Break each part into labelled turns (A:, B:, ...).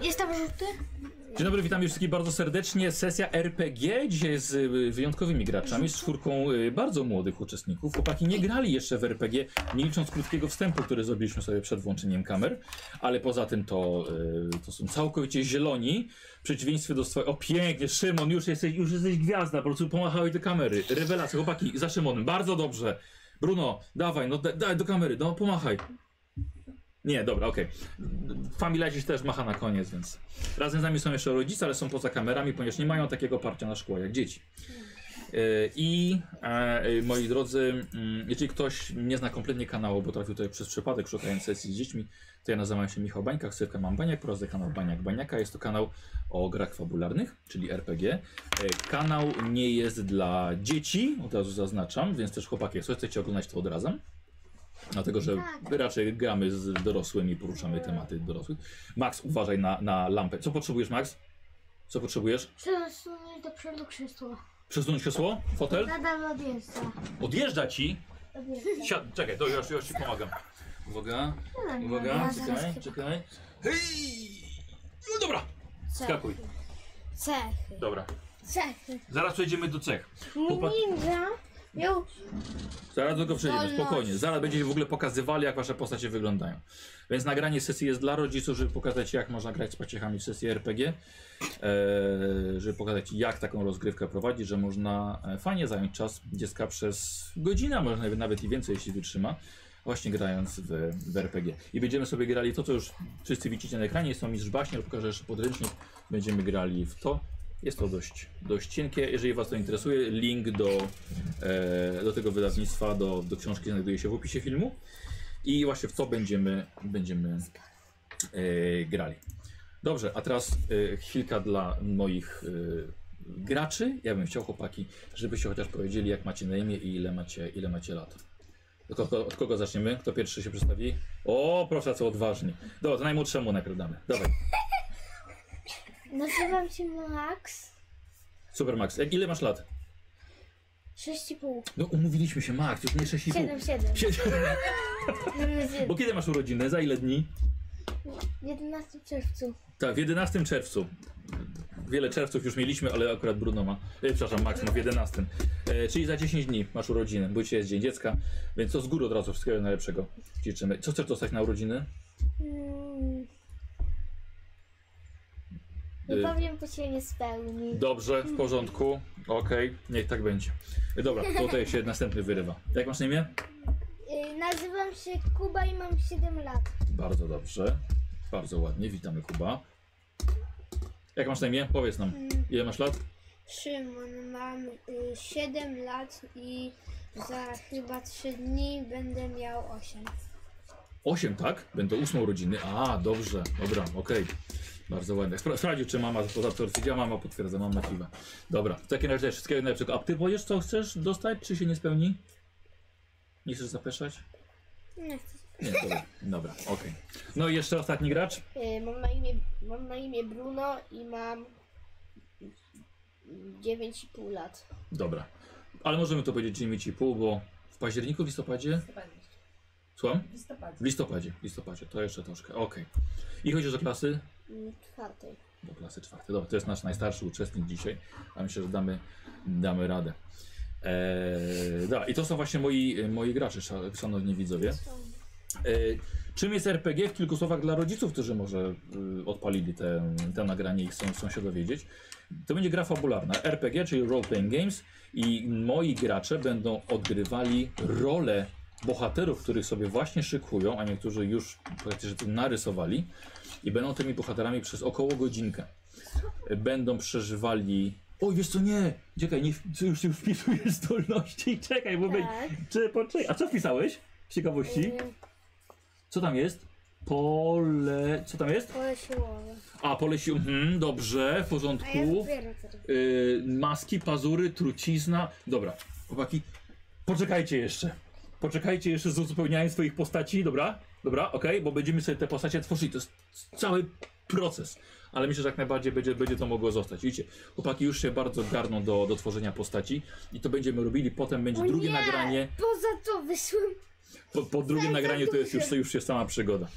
A: Jest tam żółty?
B: Dzień dobry, witam już wszystkich bardzo serdecznie. Sesja RPG dzisiaj z y, wyjątkowymi graczami, z czwórką y, bardzo młodych uczestników. Chłopaki nie grali jeszcze w RPG, nie licząc krótkiego wstępu, który zrobiliśmy sobie przed włączeniem kamer, ale poza tym to, y, to są całkowicie zieloni. W przeciwieństwie do swojego... O pięknie, Szymon, już jesteś, już jesteś gwiazda, po prostu pomachałeś do kamery. Rewelacja, chłopaki, za Szymonem, bardzo dobrze. Bruno, dawaj, no da, daj do kamery, no pomachaj. Nie, dobra, okej. Familia dziś też macha na koniec, więc... Razem z nami są jeszcze rodzice, ale są poza kamerami, ponieważ nie mają takiego parcia na szkło jak dzieci. Yy, I e, y, moi drodzy, mm, jeżeli ktoś nie zna kompletnie kanału, bo trafił tutaj przez przypadek szukając sesji z dziećmi, to ja nazywam się Michał Bańka, ksywka mam Baniak, prowadzę kanał Baniak Baniaka. Jest to kanał o grach fabularnych, czyli RPG. E, Kanał nie jest dla dzieci, od razu zaznaczam, więc też chłopaki, jak coś chcecie oglądać, to od razu. Dlatego, że raczej gramy z dorosłymi, poruszamy tematy dorosłych. Max, uważaj na, na lampę. Co potrzebujesz, Max? Co potrzebujesz?
A: Przesunąć do przodu krzesło.
B: Przesunąć krzesło? Fotel?
A: Nadal odjeżdża.
B: Odjeżdża ci!
A: Odjeżdża.
B: Siad... Czekaj, to już, już ci pomagam. Uwaga,
A: Nadal nie
B: uwaga,
A: ma. No, Zaraz
B: czekaj,
A: chyba-
B: czekaj. Hej! No dobra, skakuj.
A: Cechy.
B: Dobra,
A: Cechy.
B: zaraz przejdziemy do cech. Popa-
A: Ninja miał
B: Zaraz do tego przejdziemy,
A: Wolność.
B: spokojnie. Zaraz będziecie w ogóle pokazywali, jak wasze postacie wyglądają. Więc nagranie sesji jest dla rodziców, żeby pokazać, jak można grać z paciechami w sesji RPG. Eee, żeby pokazać, jak taką rozgrywkę prowadzić, że można e, fajnie zająć czas dziecka przez godzinę, a może nawet, nawet i więcej, jeśli wytrzyma. Właśnie grając w, w RPG. I będziemy sobie grali to, co już wszyscy widzicie na ekranie. Jest to Mistrz Baśnier, pokażę jeszcze podręcznik. Będziemy grali w to. Jest to dość, dość cienkie. Jeżeli Was to interesuje, link do e, do tego wydawnictwa, do, do książki znajduje się w opisie filmu. I właśnie w co będziemy, będziemy e, grali. Dobrze, a teraz e, chwilka dla moich e, graczy. Ja bym chciał, chłopaki, żebyście chociaż powiedzieli, jak macie na imię i ile macie, ile macie lat. Od kogo, od kogo zaczniemy? Kto pierwszy się przedstawi? O, proszę, co odważni. Dobra, to najmłodszemu najpierw damy. Dawaj.
A: Nazywam się Max.
B: Super, Max. Jak, ile masz lat?
A: 6,5.
B: No, umówiliśmy się, Max, już nie
A: 7,
B: 6,5.
A: 7.
B: Siedem. Bo
A: 7.
B: kiedy masz urodziny? Za ile dni?
A: 11 czerwcu.
B: Tak, w 11 czerwcu. Wiele czerwców już mieliśmy, ale akurat Bruno ma. E, przepraszam, Max ma w 11. E, czyli za 10 dni masz urodziny, bo dzisiaj jest Dzień Dziecka, więc to z góry od razu wszystkiego najlepszego życzymy. Co chcesz dostać na urodziny?
A: Mm.
B: Y-
A: Nie powiem, bo się nie spełni.
B: Dobrze, w porządku. Okej, niech tak będzie. E, dobra, to tutaj się następny wyrywa. Jak masz na imię?
A: Y, Nazywam się Kuba i mam 7 lat.
B: Bardzo dobrze. Bardzo ładnie, witamy Kuba. Jak masz na imię? Powiedz nam. Ile masz lat?
A: Szymon, mam 7 lat i za chyba 3 dni będę miał 8.
B: 8, tak? Będą 8 urodziny. A, dobrze, dobra, okej. Bardzo ładnie. Spra- sprawdził, czy mama poza potwierdziła. Mama potwierdza, mama kiwa. Dobra, w takim razie wszystkiego najlepszego. A ty powiesz, co chcesz dostać, czy się nie spełni? Nie chcesz zapeszać?
A: Nie
B: Nie, dobra, dobra okej. No i jeszcze ostatni gracz.
C: E, Mam na imię, mam na imię Bruno i mam 9,5 lat.
B: Dobra. Ale możemy to powiedzieć 9,5, bo w październiku, w listopadzie? Słucham?
D: W listopadzie.
B: W listopadzie, w listopadzie, to jeszcze troszkę, okej. I chodzisz do klasy?
C: Mm, Czwartej.
B: do klasy czwartej. Dobra, to jest nasz najstarszy uczestnik dzisiaj, a myślę, że damy, damy radę. Eee, dobra, i to są właśnie moi, moi gracze, sza- szanowni widzowie. Eee, czym jest RPG? W kilku słowach dla rodziców, którzy może y, odpalili te, te nagranie i chcą, chcą się dowiedzieć. To będzie gra fabularna. RPG, czyli Role Playing Games i moi gracze będą odgrywali rolę bohaterów, których sobie właśnie szykują, a niektórzy już praktycznie to narysowali i będą tymi bohaterami przez około godzinkę. Będą przeżywali. Oj, wiesz co, nie! Czekaj, nie, wp- już już wpisujesz zdolności. Czekaj, bo będzie.
C: Tak.
B: Czy, poczekaj. A co wpisałeś? Z ciekawości?
A: y,
B: Co tam jest? Pole. Co tam jest?
A: Pole siłowe.
B: A, pole sił. Mhm, dobrze, w
A: A ja
B: porządku.
A: zbieram teraz.
B: Yy, maski, pazury, trucizna. Dobra, chłopaki, poczekajcie jeszcze. Poczekajcie jeszcze z uzupełnianiem swoich postaci, dobra? Dobra, okej, bo będziemy sobie te postacie tworzyli. To jest cały proces. Ale myślę, że jak najbardziej będzie, będzie to mogło zostać. Widzicie, chłopaki już się bardzo garną do, do tworzenia postaci i to będziemy robili. Potem będzie
A: O
B: drugie
A: nie!
B: nagranie.
A: Poza to wyszłem.
B: Po, po drugim nagraniu to jest już,
A: duże.
B: już jest sama przygoda.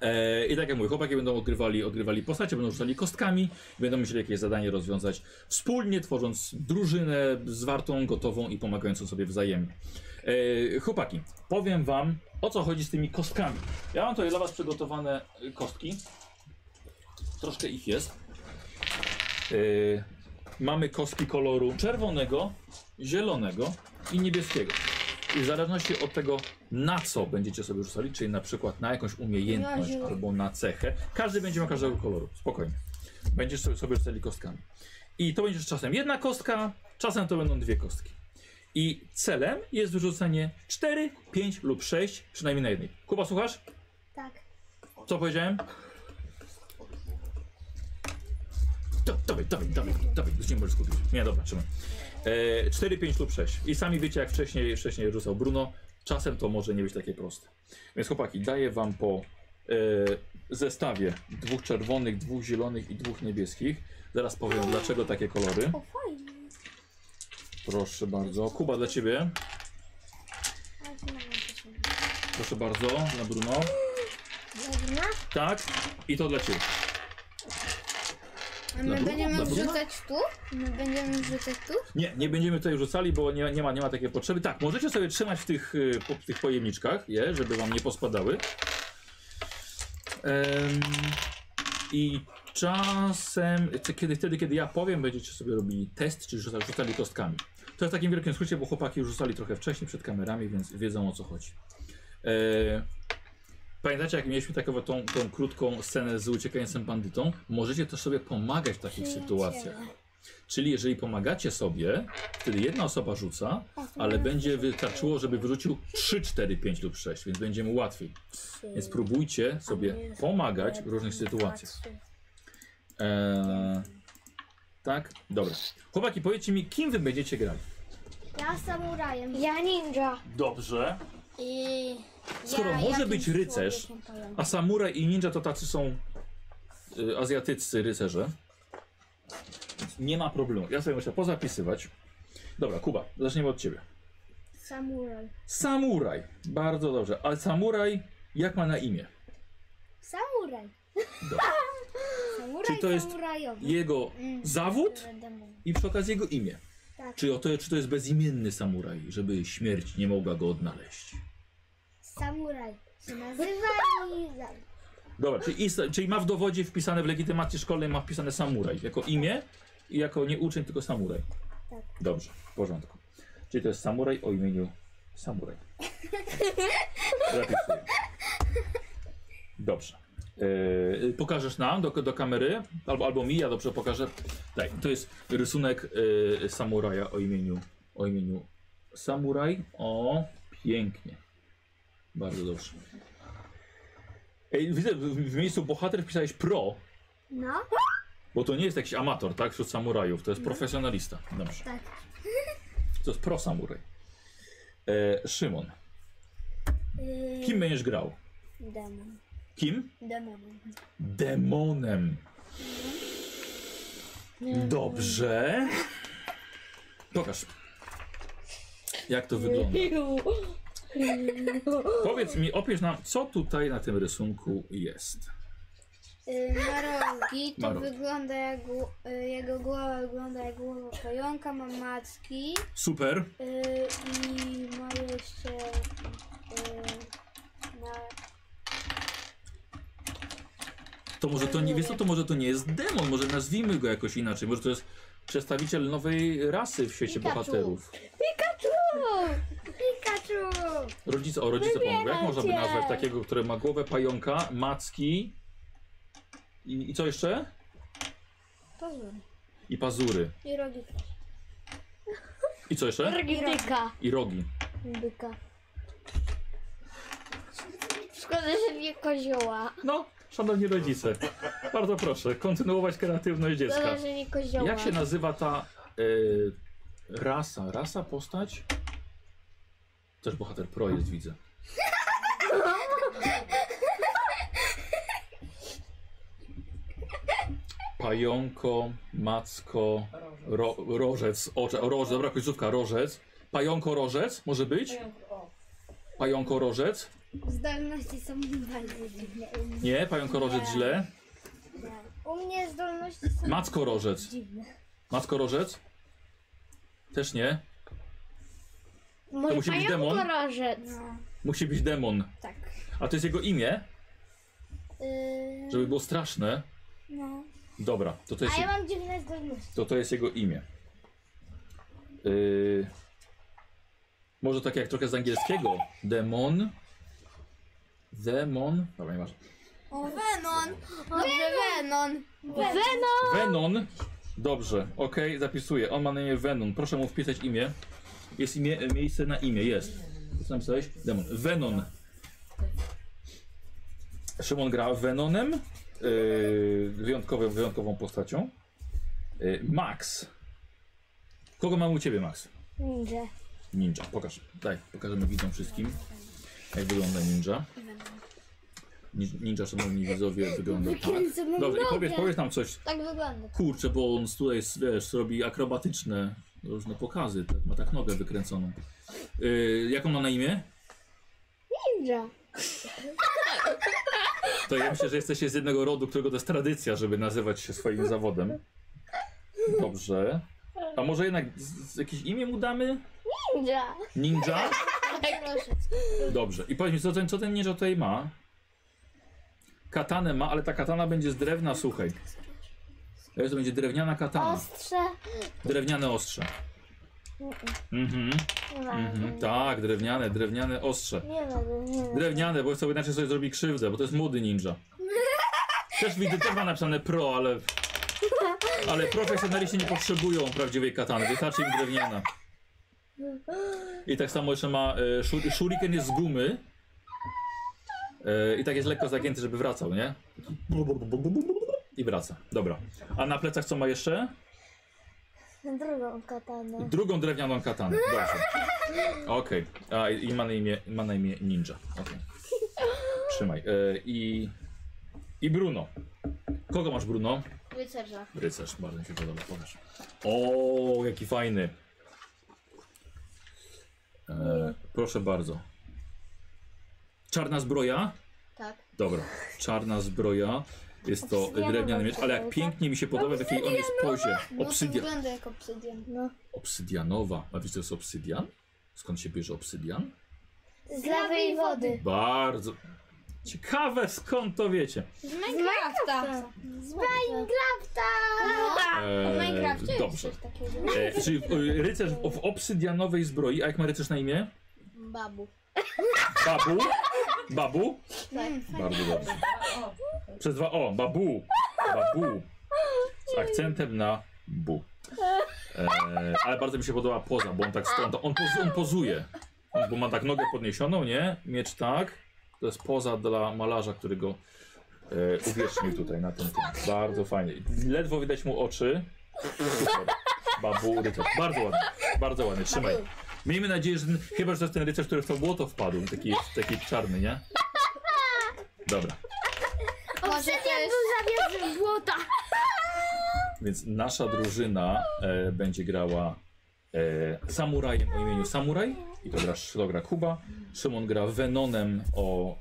B: E, I tak jak mówię, chłopaki będą odgrywali, odgrywali postacie, będą rzucali kostkami, będą musieli jakieś zadanie rozwiązać wspólnie, tworząc drużynę zwartą, gotową i pomagającą sobie wzajemnie. E, chłopaki, powiem wam o co chodzi z tymi kostkami. Ja mam tutaj dla was przygotowane y, kostki. Troszkę ich jest. E, mamy kostki koloru czerwonego, zielonego i niebieskiego. I w zależności od tego, na co będziecie sobie rzucali, czyli na przykład na jakąś umiejętność
A: Ja zielony.
B: albo na cechę, każdy będzie miał każdego koloru. Spokojnie. Będziesz sobie, sobie rzucali kostkami. I to będzie czasem jedna kostka, czasem to będą dwie kostki. I celem jest wyrzucenie 4, 5 lub 6, przynajmniej na jednej. Kuba, słuchasz?
A: Tak.
B: Co powiedziałem? Do- Dawaj, dawaj, dawaj, dawaj, już nie możesz skupić. Nie, dobra, trzymaj. E, 4, 5 lub 6. I sami wiecie, jak wcześniej, wcześniej rzucał Bruno, czasem to może nie być takie proste. Więc chłopaki, daję wam po e, zestawie dwóch czerwonych, dwóch zielonych i dwóch niebieskich. Zaraz powiem, dlaczego takie kolory.
A: O, fajnie.
B: Proszę bardzo. Kuba, dla ciebie.
A: Ale to mam jakieś
B: Proszę bardzo, dla Bruno.
A: Dobra.
B: Tak, i to dla ciebie.
A: A
B: Dobra,
A: my będziemy
B: dobra.
A: wrzucać tu? My będziemy wrzucać tu?
B: Nie, nie będziemy tutaj rzucali, bo nie, nie, ma, nie ma takiej potrzeby. Tak, możecie sobie trzymać w tych, y, po, w tych pojemniczkach, je, żeby wam nie pospadały. Em, I czasem, czy kiedy, wtedy, kiedy ja powiem, będziecie sobie robili test, czy rzuca- rzucali kostkami. To jest w takim wielkim skrócie, bo chłopaki już rzucali trochę wcześniej przed kamerami, więc wiedzą o co chodzi. E, pamiętacie, jak mieliśmy taką tą, tą krótką scenę z uciekającym bandytą? Możecie też sobie pomagać w takich
A: Przyjaciele.
B: sytuacjach. Czyli jeżeli pomagacie sobie, wtedy jedna osoba rzuca,
A: O, to
B: ale
A: mam
B: będzie
A: jakieś
B: wystarczyło, żeby wyrzucił 3, 4, 5 lub 6, więc będzie mu łatwiej.
A: trzy.
B: Więc próbujcie sobie pomagać w różnych sytuacjach. Eee, tak? Dobra. Chłopaki, powiedzcie mi, kim wy będziecie grali?
C: Ja samurajem.
A: Ja ninja.
B: Dobrze.
C: I
B: Skoro może
C: jakimś
B: być rycerz,
C: człowiekiem powiem.
B: A samuraj i ninja to tacy są y, azjatyccy rycerze. Więc nie ma problemu. Ja sobie muszę pozapisywać. Dobra, Kuba, zaczniemy od ciebie.
C: Samuraj.
B: Samuraj. Bardzo dobrze. Ale samuraj, jak ma na imię?
C: Samuraj.
B: Dobra.
C: Samuraj
B: Czy to jest
C: samurajowy.
B: Jego
A: Mm.
B: zawód i przy okazji jego imię.
C: Tak.
B: Czy, o to, czy to jest bezimienny samuraj, żeby śmierć nie mogła go odnaleźć?
C: Samuraj się nazywa i...
B: Dobra, czyli, is- czyli ma w dowodzie wpisane w legitymacji szkolnej, ma wpisane samuraj jako imię i jako nie uczeń, tylko samuraj.
C: Tak.
B: Dobrze, w porządku. Czyli to jest samuraj o imieniu samuraj. Zapisuję. Dobrze. Yy, pokażesz nam do, do kamery, albo, albo mi, ja dobrze pokażę. Daj, to jest rysunek yy, samuraja o imieniu, o imieniu samuraj. O, pięknie. Bardzo dobrze. Ej, widzę, w, w miejscu bohater wpisałeś pro,
C: No.
B: bo to nie jest jakiś amator, tak? Wśród samurajów, to jest profesjonalista. Dobrze.
C: Tak.
B: To jest pro samuraj. E, Szymon,
C: Y...
B: kim będziesz grał?
C: Demon.
B: Kim?
C: Demon.
B: Demonem. Dobrze. Pokaż. Jak to wygląda? Powiedz mi, opisz nam, co tutaj na tym rysunku jest.
A: Y, Ma rogi, to
B: Ma rogi.
A: wygląda jak gł- y, jego głowa wygląda jak głowa pająka, ma macki
B: Super.
D: E,
A: y, i ma jeszcze
D: e,
A: y, ma,
B: To może to nie, wiesz co, to może to nie jest demon, może nazwijmy go jakoś inaczej, może to jest przedstawiciel nowej rasy w świecie
C: Pikachu.
B: bohaterów.
C: Pikachu!
B: Rodzice, o rodzice pomogą. Jak można by
C: Wybierajcie.
B: nazwać takiego, który ma głowę pająka, macki i, i co jeszcze?
A: pazury.
B: I pazury.
A: i rogi.
B: I co jeszcze?
D: Dyka.
B: I rogi.
D: Dyka. Szkoda, że nie kozioła.
B: No, szanowni rodzice, bardzo proszę, kontynuować kreatywność dziecka.
D: Szkoda, że nie kozioła.
B: Jak się nazywa ta e, rasa? Rasa, postać? Też bohater pro jest, widzę. Pająko, macko, ro, rożec, ocze, rożec, dobra końcówka, rożec. Pająko, rożec, może być? Pająko, rożec.
A: Zdolności są bardzo dziwne. u mnie.
B: Nie, pająkorożec źle.
D: U mnie zdolności są
B: Mackorożec.
D: dziwne.
B: Mackorożec? Też nie.
D: Może
B: musi być demon?
D: pająkorożec.
A: No,
B: Musi być demon.
A: tak.
B: A to jest jego imię?
D: Yy,
B: Żeby było straszne.
A: No.
B: Dobra, to to jest,
D: a ja mam dziwne zdolności.
B: to, to jest jego imię. Yy, może tak jak trochę z angielskiego. Demon. Demon. Dobra, nie masz.
A: O, Venon! Dobrze, Venon!
D: Venom!
B: Venon. Dobrze, okej, zapisuję. On ma na imię Venon. Proszę mu wpisać imię. Jest imię, e, miejsce na imię, jest. Co napisałeś? Demon. Venon. Szymon gra Venonem, yy, wyjątkową, wyjątkową postacią. Yy, Max. Kogo mamy u ciebie, Max?
D: Ninja.
B: Ninja, pokaż. Daj, pokażemy widzom wszystkim, jak wygląda ninja. Nin- Ninja, szanowni widzowie, wygląda tak.
D: Kręcę mu
B: Dobrze, i powiedz,
D: nogę.
B: powiedz nam coś,
D: no Tak wygląda.
B: Kurczę, bo on tutaj wiesz, robi akrobatyczne różne pokazy. tak, Ma tak nogę wykręconą. Yy, jak on ma na imię?
D: Ninja.
B: To ja myślę, że jesteście z jednego rodu, którego to jest tradycja, żeby nazywać się swoim zawodem. Dobrze. A może jednak z, z jakieś imię mu damy?
D: Ninja.
B: Ninja?
D: Pająkorożec.
B: Dobrze. I powiedz mi, co ten, co ten ninja tutaj ma? Katanę ma, ale ta katana będzie z drewna, słuchaj. To będzie drewniana katana.
D: Ostrze.
B: Drewniane ostrze. Mhm.
D: Nie ma.
B: Mhm, tak, drewniane, drewniane ostrze.
D: Nie ma. Nie ma.
B: Drewniane, bo sobie inaczej sobie zrobi krzywdę, bo to jest młody ninja. Też widzę, też ma napisane pro, ale... Ale profesjonaliści nie potrzebują prawdziwej katany, wystarczy im drewniana. I tak samo jeszcze ma... E, shur, shuriken jest z gumy. E, I tak jest lekko zagięty, żeby wracał, nie? I wraca, dobra. A na plecach co ma jeszcze?
D: Drugą katanę.
B: Drugą drewnianą katanę. Dobrze. Okej. A i i ma na imię, ma na imię ninja. Okej. Trzymaj. E, I. I Bruno. Kogo masz Bruno?
C: Rycerza.
B: Rycerz, bardzo mi się podoba, pokaż. O, jaki fajny. E, proszę bardzo. Czarna zbroja?
C: Tak.
B: Dobra, czarna zbroja. Jest to
D: Obsydianowa
B: drewniany miecz, ale jak
D: zbroja, tak?
B: pięknie mi się podoba, w jakiej on jest pozie. Obsydian.
A: wygląda jak obsydian.
D: No.
B: Obsydianowa. A wiecie, co jest obsydian? Skąd się bierze obsydian?
D: Z lewej wody.
B: Bardzo ciekawe, skąd to wiecie.
A: Z Minecrafta!
D: Z Minecrafta!
B: Eee,
A: W Minecrafcie jest
B: dobrze.
A: coś takiego.
B: E, czyli e, rycerz w obsydianowej zbroi, a jak ma rycerz na imię?
C: Babu.
B: Babu. Babu?
A: Mm,
B: Bardzo dobrze. Przez dwa O. Babu. Babu. Z akcentem na bu. E, ale bardzo mi się podoba poza, bo on tak stąd. On, poz, on pozuje. On, bo ma tak nogę podniesioną, nie? Miecz tak. To jest poza dla malarza, który go e, uwiecznił tutaj na ten temat. Bardzo fajnie. Ledwo widać mu oczy. Super. Babu, rycerz. Bardzo ładnie. Bardzo ładnie. Trzymaj. Miejmy nadzieję, że ten, chyba, że to jest ten rycerz, który w to błoto wpadł. Taki, taki czarny, nie? Dobra.
A: Może to jest...
D: Zabierzmy błota.
B: Więc nasza drużyna e, będzie grała e, samurajem o imieniu Samuraj. I to gra, to gra Kuba. Szymon gra Venonem o.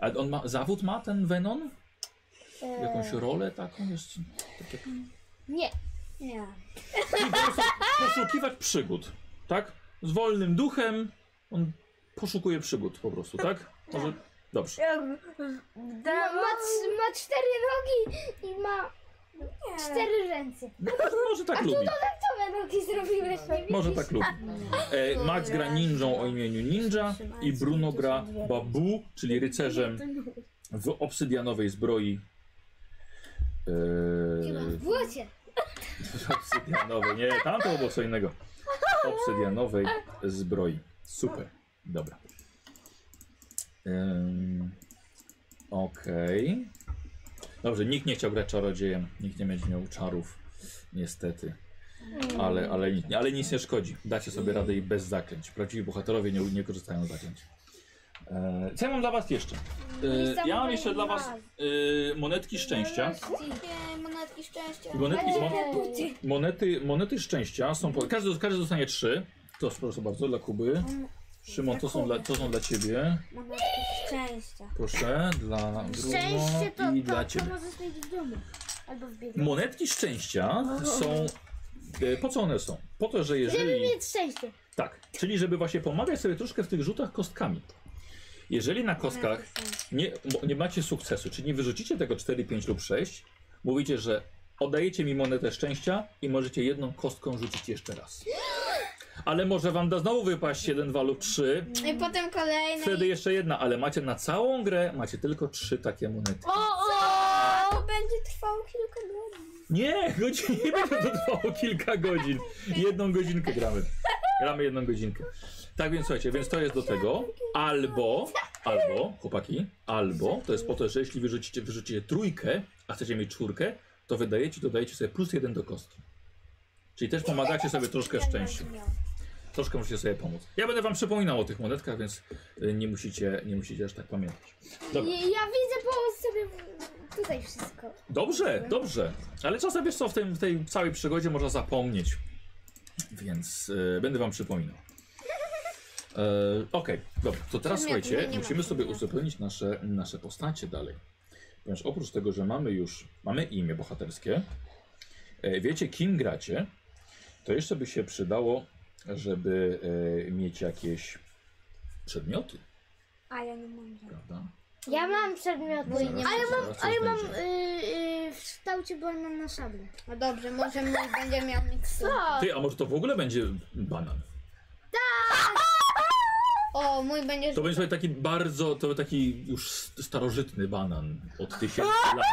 B: E, a on ma. Zawód ma ten Venon? Jakąś rolę taką jeszcze? Takie...
D: Nie.
A: Nie.
B: Czyli posu- Poszukiwać przygód, tak? Z wolnym duchem on poszukuje przygód po prostu, tak? Może. Dobrze.
D: No, Ma, ma, trz- ma cztery nogi i ma cztery ręce.
B: No, Może tak lubi.
D: Nowe nogi zrobiłeś, nie widzisz?
B: Może tak lubi. E, Max gra ninją o imieniu Ninja i Bruno gra Babu, czyli rycerzem w obsydianowej zbroi. E,
D: W błocie.
B: w obsydianowej, nie, tam to było co innego. Obsydianowej zbroi. Super, dobra. Ym, Okej. Dobrze, nikt nie chciał grać czarodziejem, nikt nie będzie miał czarów, niestety. Ale, ale, nic- ale nic nie szkodzi. Dacie sobie radę i bez zaklęć. Prawdziwi bohaterowie nie, nie korzystają z zaklęć. E, co ja mam dla was jeszcze? E, ja mam jeszcze dla was e, monetki szczęścia.
A: Monetki szczęścia.
B: I Monetki, mon,
D: buty.
B: monety, monety szczęścia są... Po, każdy, każdy dostanie trzy. To proszę bardzo dla Kuby. Szymon, to są dla, to są dla ciebie.
A: Mam jakieś szczęścia.
B: Proszę, dla
D: Szczęście to,
B: Bruno No i dla
D: to, to
B: ciebie.
D: możesz mieć w domu. Albo w biegu.
B: Monetki szczęścia są. e, Po co one są? Po to, że
D: No, Żeby
B: jeżeli.
D: mieć szczęście.
B: Tak, czyli żeby właśnie pomagać sobie troszkę w tych rzutach kostkami. Jeżeli na kostkach
A: Mam jakieś szczęście.
B: nie, mo- nie macie sukcesu, czyli nie wyrzucicie tego 4, 5 lub 6, mówicie, że oddajecie mi monetę szczęścia i możecie jedną kostką rzucić jeszcze raz. Ale może wam da znowu wypaść 1, 2 lub 3.
A: I potem kolejny.
B: Wtedy jeszcze jedna, ale macie na całą grę, macie tylko trzy takie monety.
D: O,
A: A to będzie trwało kilka dni.
B: Nie, godzin, nie będzie to trwało kilka godzin. Jedną godzinkę gramy. Gramy jedną godzinkę. Tak więc słuchajcie, więc to jest do tego. Albo, albo, chłopaki, albo, to jest po to, że jeśli wyrzucicie, wyrzucicie trójkę, a chcecie mieć czwórkę, to wydajecie, dodajecie sobie plus jeden do kostki. Czyli też pomagacie sobie troszkę szczęściu. Troszkę musicie sobie pomóc. Ja będę wam przypominał o tych monetkach, więc y, nie musicie, nie musicie aż tak pamiętać. Dobra.
D: Ja, ja widzę, połóż sobie w- tutaj wszystko.
B: Dobrze, dobrze. Ale czasem wiesz co, w, tym, w tej całej przygodzie można zapomnieć. Więc e, będę wam przypominał. E, Okej, dobra. To teraz
A: Przedmiotów
B: słuchajcie,
A: nie ma.
B: musimy sobie uzupełnić nasze, nasze postacie dalej. Ponieważ oprócz tego, że mamy już, mamy imię bohaterskie, e, wiecie kim gracie, to jeszcze by się przydało, żeby e, mieć jakieś przedmioty,
A: A ja nie mam żadnych.
B: prawda?
D: Ja mam przedmioty.
B: Zaraz,
D: nie ale mam,
B: zaraz coś
D: ale mam
B: będzie.
D: y, y, w kształcie Y, błędna na szablę.
A: No dobrze, może mój będzie miał miksur.
B: Ty, a może to w ogóle będzie banan?
A: O, mój będzie
B: To będzie sobie taki bardzo, to taki już starożytny banan od tysięcy lat.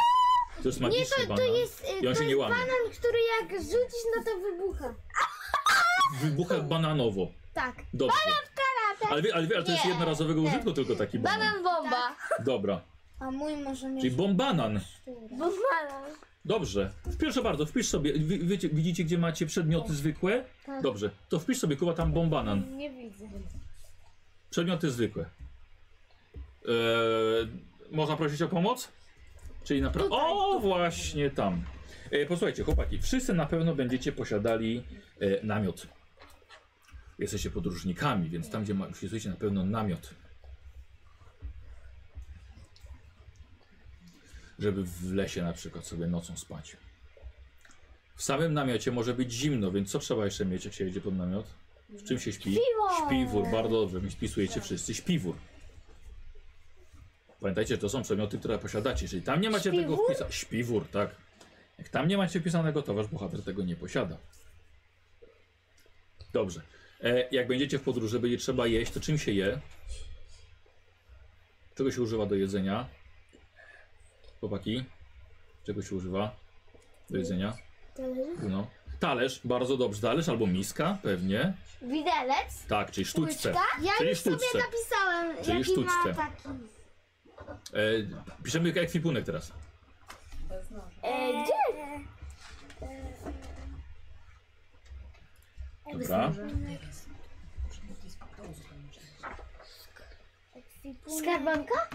B: To jest
D: Nie,
B: magiczny
D: to, to
B: banan.
D: jest, y,
B: I on
D: to
B: się nie
D: jest
B: łamie.
D: banan, który jak rzucisz, no to wybucha.
B: Wybucha bananowo.
D: Tak.
B: Dobrze. Ale, wie- ale, wie- ale to jest jednorazowego użytku tylko taki banan.
E: Banan bomba.
B: Dobra.
A: A mój może mieć
B: Czyli bombanan.
A: miksturę.
D: Tak. Bo banan.
B: Dobrze. Proszę bardzo, wpisz sobie. Wi, wiecie, widzicie, gdzie macie przedmioty zwykłe?
D: Tak.
B: Dobrze. To wpisz sobie, Kuba, tam bombanan.
D: Nie widzę.
B: Przedmioty zwykłe. Eee, można prosić o pomoc? Czyli na pra- O, właśnie tam. E, posłuchajcie, chłopaki, wszyscy na pewno będziecie posiadali e, namiot. Jesteście podróżnikami, więc tam, gdzie ma- przysłuchajcie na pewno namiot. Żeby w lesie na przykład sobie nocą spać. W samym namiocie może być zimno, więc co trzeba jeszcze mieć, jak się jedzie pod namiot? W czym się śpi?
D: Śpiwór!
B: Śpiwór, bardzo dobrze, mi spisujecie wszyscy. Śpiwór. Pamiętajcie, że to są przedmioty, które posiadacie. Jeżeli tam nie macie tego
D: Śpiwór?
B: wpisanego. Śpiwór, tak. Jak tam nie macie wpisanego, to wasz bohater tego nie posiada. Dobrze. E, jak będziecie w podróży, będzie trzeba jeść, to czym się je? Czego się używa do jedzenia? Chłopaki? Czego się używa do jedzenia?
D: Talerzyk?
B: No. Talerz, bardzo dobrze. Talerz albo miska, pewnie.
D: Widelec?
B: Tak, czyli sztućce.
D: Łyczka? Ja
B: Czyli
D: już
B: sztućce.
D: sobie napisałem,
B: Czyli
D: jaki
B: sztućce.
D: ma taki.
B: E, piszemy ekwipunek teraz.
D: E, gdzie?
B: Dobra.
D: E, Skarbanka?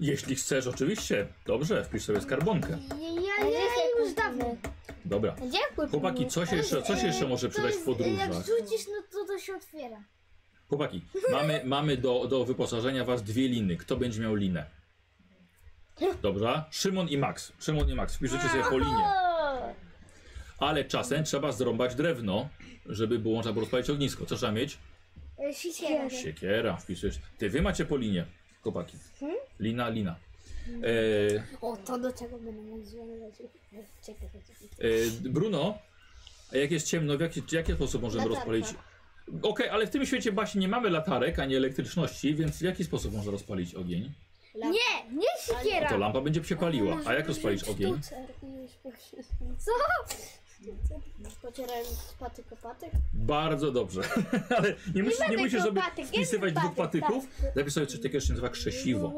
B: Jeśli chcesz, oczywiście. Dobrze, wpisz sobie skarbonkę.
D: Ja, ja, ja już dawno.
B: Dobra.
D: Dziękuję.
B: Chłopaki, co się jeszcze, co się jeszcze może przydać w
D: Jak
B: podróżach?
D: rzucisz, no to to się otwiera.
B: Chłopaki, mamy, mamy do, do wyposażenia was dwie liny. Kto będzie miał linę?
D: Hm.
B: Dobra, Szymon i Max. Szymon i Max, wpiszecie sobie po linie. Ale czasem trzeba zrąbać drewno, żeby było można było rozpalić ognisko. Co trzeba mieć?
D: e, Sisiera.
B: Siekiera, wpisujesz. Ty, wy macie po linie, chłopaki. Lina, lina. E,
D: O, to do czego będę mógł związać? Czekaj, czekaj.
B: e, Bruno, a jak jest ciemno, w jaki, w jaki sposób możemy
D: Latarka.
B: rozpalić... Okej, ale w tym świecie właśnie nie mamy latarek, ani elektryczności, więc w jaki sposób można rozpalić ogień? No
D: Nie, nie
B: To
D: siekiera.
B: lampa będzie się paliła. A jak rozpalić ogień?
C: Pocierając z patyk o patyk.
B: Bardzo dobrze. Ale nie musisz, nie tak.
D: ma
B: musisz
D: tego
B: sobie
D: patyk, jest
B: wpisywać
D: ten
B: dwóch
D: patyk,
B: patyków. Zapisz sobie coś takiego, co się nazywa krzesiwo.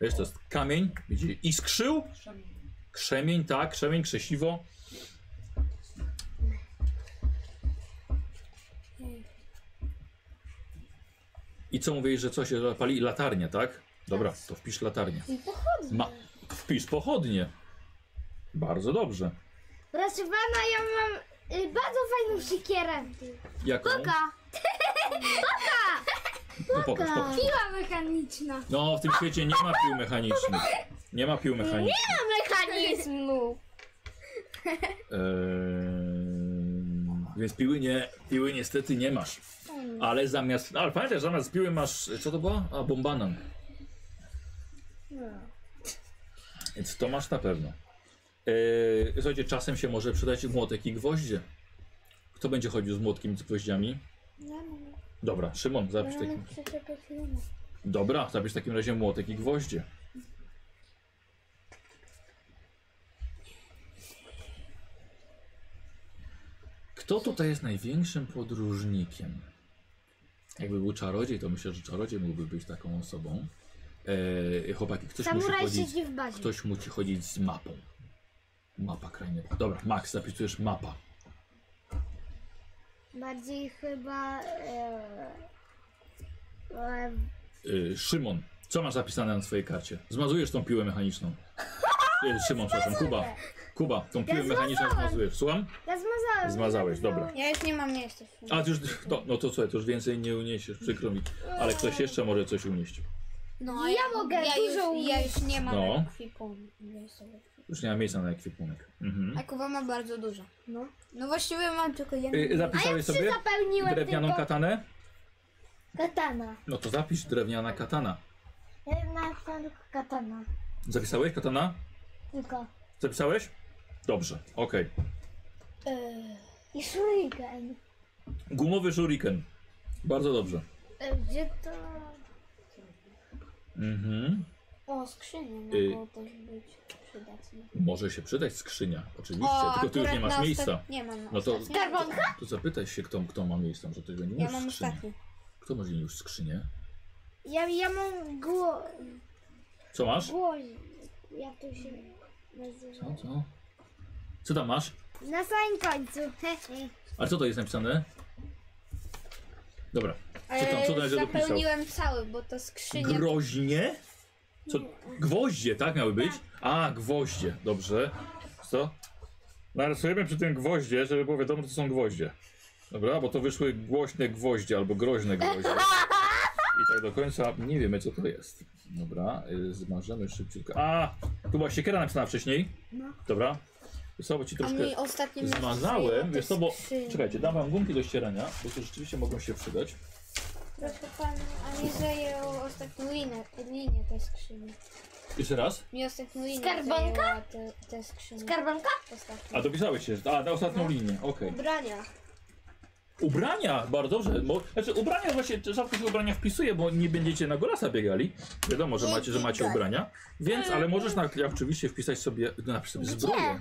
B: Wiesz, to jest kamień, widzicie, iskrzył. Krzemień, tak, krzemień, krzesiwo. I co mówisz, że coś się pali? Latarnia, tak? Dobra, to wpisz latarnię. Ma, wpisz pochodnie. Bardzo dobrze.
D: Proszę pana, no, ja mam y, bardzo fajną siekierę.
B: Jaką?
D: Boka.
B: No pokaż, pokaż.
D: Piła mechaniczna.
B: No, w tym świecie nie ma pił mechanicznych. Nie ma pił mechanicznych.
D: Mechanizmu.
B: Ehm, Yy, więc piły nie, piły niestety nie masz. Ale zamiast, no, ale pamiętaj, zamiast piły masz, co to była? A, bombanan. Więc to masz na pewno. Eee, słuchajcie, czasem się może przydać młotek i gwoździe. Kto będzie chodził z młotkiem i z gwoździami? Dobra, Szymon, zapisz taki. Dobra, zapisz w takim razie młotek i gwoździe. Kto tutaj jest największym podróżnikiem? Jakby był czarodziej, to myślę, że czarodziej mógłby być taką osobą. Eee, chłopaki, ktoś musi
D: Samuraj
B: chodzić.
D: siedzi w bazie.
B: Ktoś musi chodzić z mapą. Mapa krainy. Dobra, Max, zapisujesz mapa.
D: Bardziej chyba... E, e,
B: Y, Szymon, co masz zapisane na swojej karcie? Zmazujesz tą piłę mechaniczną. Y, Szymon, przepraszam, Kuba. Kuba, tą piłę mechaniczną zmazujesz. Słucham?
D: ja zmazałem.
B: Zmazałeś, dobra.
A: Ja już nie mam miejsca. w sumie.
B: A, ty już, no, no to co, to już więcej nie uniesiesz, przykro mi. Ale ktoś jeszcze może coś unieść.
A: No,
D: Ja mogę dużo
A: już, ja już nie mam
B: No.
A: ekwipunku.
B: Już nie ma miejsca na ekwipunek. Mhm.
A: A Kuba ma bardzo dużo.
D: No.
A: No właściwie mam tylko jedno.
B: Y, Zapisałeś sobie
D: Zapełniłem
B: drewnianą
D: tylko
B: katanę?
D: katana.
B: No to zapisz drewniana katana.
D: Ja napisałam tylko katana.
B: Zapisałeś katana?
D: Tylko.
B: Zapisałeś? Dobrze, okej.
D: I shuriken.
B: Gumowy shuriken. Bardzo dobrze.
D: E, Gdzie to...
B: Mhm.
D: O, skrzynia
B: Y.
D: mogło też być przydatne.
B: Może się przydać skrzynia, oczywiście, tylko ty już nie
A: akurat
B: masz
A: na
B: miejsca.
A: ostat- Nie mam. na
B: No to-
A: ostatnie.
B: To zapytaj się, kto, kto ma miejsce, może tego nie
A: Ja
B: masz
A: mam
B: skrzyni.
A: ostatni.
B: Kto może nie już skrzynię?
D: Ja, ja mam gło...
B: Co masz?
D: głozi. Jak to się nazywa?
B: Co, co? Co tam masz?
D: Na samym końcu.
B: Ale co to jest napisane? Dobra, co tam, co tam się dopisał?
A: Zapełniłem cały, bo to skrzynia.
B: Groźnie? Co? Gwoździe, tak miały być? A, gwoździe, dobrze. Co? Narysujemy przy tym gwoździe, żeby było wiadomo, co są gwoździe. Dobra, bo to wyszły głośne gwoździe albo groźne gwoździe. I tak do końca nie wiemy, co to jest. Dobra, y, zmarzemy szybciutko. A, tu była siekiera napisana wcześniej. Dobra. Wiesz co, bo ci
A: No. A
B: troszkę
A: mi ostatnim
B: zmazałem. Wiesz co, bo... Czekajcie, dam wam gumki do ścierania, bo to rzeczywiście mogą się przydać.
A: Proszę pan, a mi zajęło ostatnią linię, linię te skrzyni.
B: Jeszcze raz.
A: Mi ostatnią linię
D: Skarbonka?
A: zajęła te, te skrzyni.
D: Skarbanka?
A: Ostatnią.
B: A dopisałeś się, a na
A: No.
B: ostatnią linię, okej.
A: Ubrania.
B: Ubrania, bardzo dobrze. Bo, znaczy ubrania właśnie rzadko się ubrania wpisuje, bo nie będziecie na golasa biegali. Wiadomo, że macie, że macie ubrania. Więc, ale możesz na, oczywiście wpisać sobie, no, napisz sobie zbroję.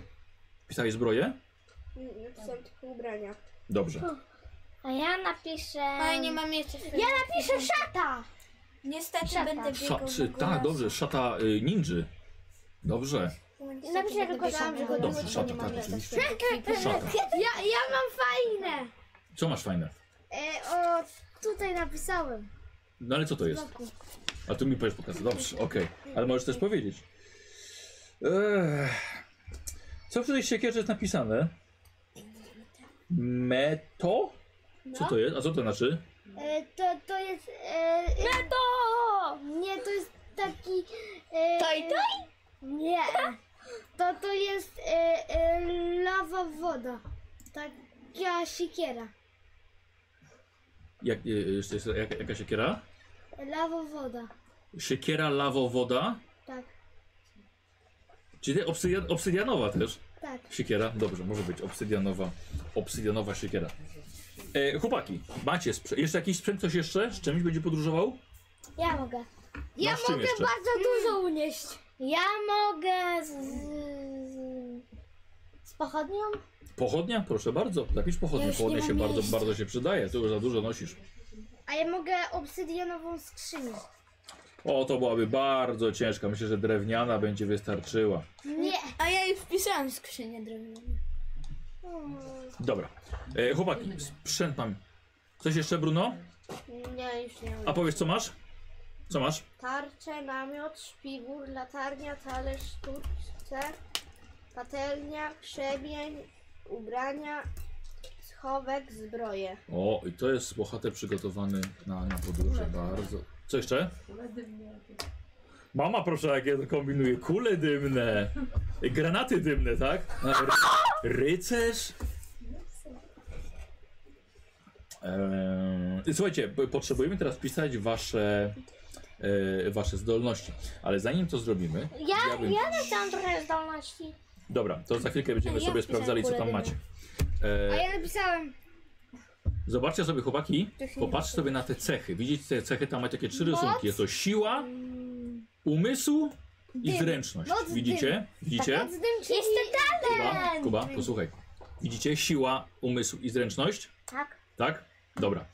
B: Wpisałeś zbroję?
A: Mm, tak.
C: Napisałam tylko ubrania.
B: Dobrze.
D: A ja napiszę...
A: A ja nie mam jeszcze.
D: Ja napiszę szata!
A: Niestety
D: Szata.
A: będę biegał
B: Sza, czy,
A: na
B: tak,
A: golasa.
B: dobrze, szata y, ninży. Dobrze.
A: Niestety
D: Napiszę
A: będę
D: tylko
A: biegał na
D: szata.
A: golasa,
B: Dobrze,
A: bo
B: szata,
A: nie mam
B: tak,
A: miejsca w
B: oczywiście.
A: swoim ekwipunku.
B: Szata.
D: Ja, ja mam fajne!
B: Co masz fajne?
D: E, o, tutaj napisałem.
B: No ale co to jest? A tu mi powiesz pokazać. Dobrze, okej. Ale możesz też powiedzieć. Eee, Co w tej siekierze jest napisane? Meto? Co to jest? A co to znaczy?
D: E, to, to jest... E, nie to! Nie, to jest taki... E,
A: Taj,
D: Nie. To to jest e, e, lawa woda. Taka siekiera.
B: Jak, y, y, jeszcze jest jaka, jaka siekiera?
D: Lawa woda.
B: Siekiera lawowoda?
D: Tak,
B: Czyli obsydian, obsydianowa też?
D: tak.
B: Siekiera? Dobrze, może być obsydianowa. Obsydianowa siekiera. E, chłopaki, macie sprzęt. Jeszcze jakiś sprzęt? Ktoś jeszcze? Z czymś będzie podróżował?
D: Ja mogę.
B: Ja Masz czym mogę jeszcze?
D: bardzo dużo unieść. Ja mogę z, z, z pochodnią?
B: Pochodnia? Proszę bardzo. Zapisz pochodnię.
A: Ja już nie
B: Pochodnia
A: mam
B: się bardzo,
A: miejsca.
B: bardzo się przydaje. Ty już za dużo nosisz.
D: A ja mogę obsydianową skrzynię.
B: O, to byłaby bardzo ciężka. Myślę, że drewniana będzie wystarczyła.
D: Nie.
A: A ja jej wpisałem skrzynię drewnianą.
B: Dobra. E, chłopaki, sprzęt mam. Coś jeszcze, Bruno?
C: Nie, już nie
B: A
C: mam.
B: powiedz, co masz? Co masz?
C: Tarcze, namiot, szpigur, latarnia, talerz, sztuczce, patelnia, krzemień, ubrania, schowek zbroję.
B: O, i to jest bohater przygotowany na, na podróże. Bardzo. Co jeszcze? Mama, proszę, jak ja to kombinuję. Kule dymne. Granaty dymne, tak? Ry- rycerz. Eee, słuchajcie, p- potrzebujemy teraz pisać wasze, e, wasze zdolności. Ale zanim to zrobimy.
D: Ja,
B: Ja bym-
D: ja też mam trochę zdolności.
B: Dobra, to za chwilkę będziemy
A: Ja
B: sobie
A: wpisałem
B: sprawdzali, co
A: kule
B: tam
A: dymne.
B: macie.
A: A
B: Eee,
A: ja napisałem.
B: Zobaczcie sobie, chłopaki,
A: To się nie
B: popatrzcie sobie na te cechy. Widzicie te cechy, tam macie takie trzy rysunki. Jest to siła, umysł i
A: Dym.
B: zręczność.
A: Moc
B: Widzicie? Widzicie?
A: Moc dym, czyli...
D: Jestem
B: Kuba,
D: talent!
B: Kuba, posłuchaj. Widzicie? Siła, umysł i zręczność?
D: Tak.
B: Tak? Dobra.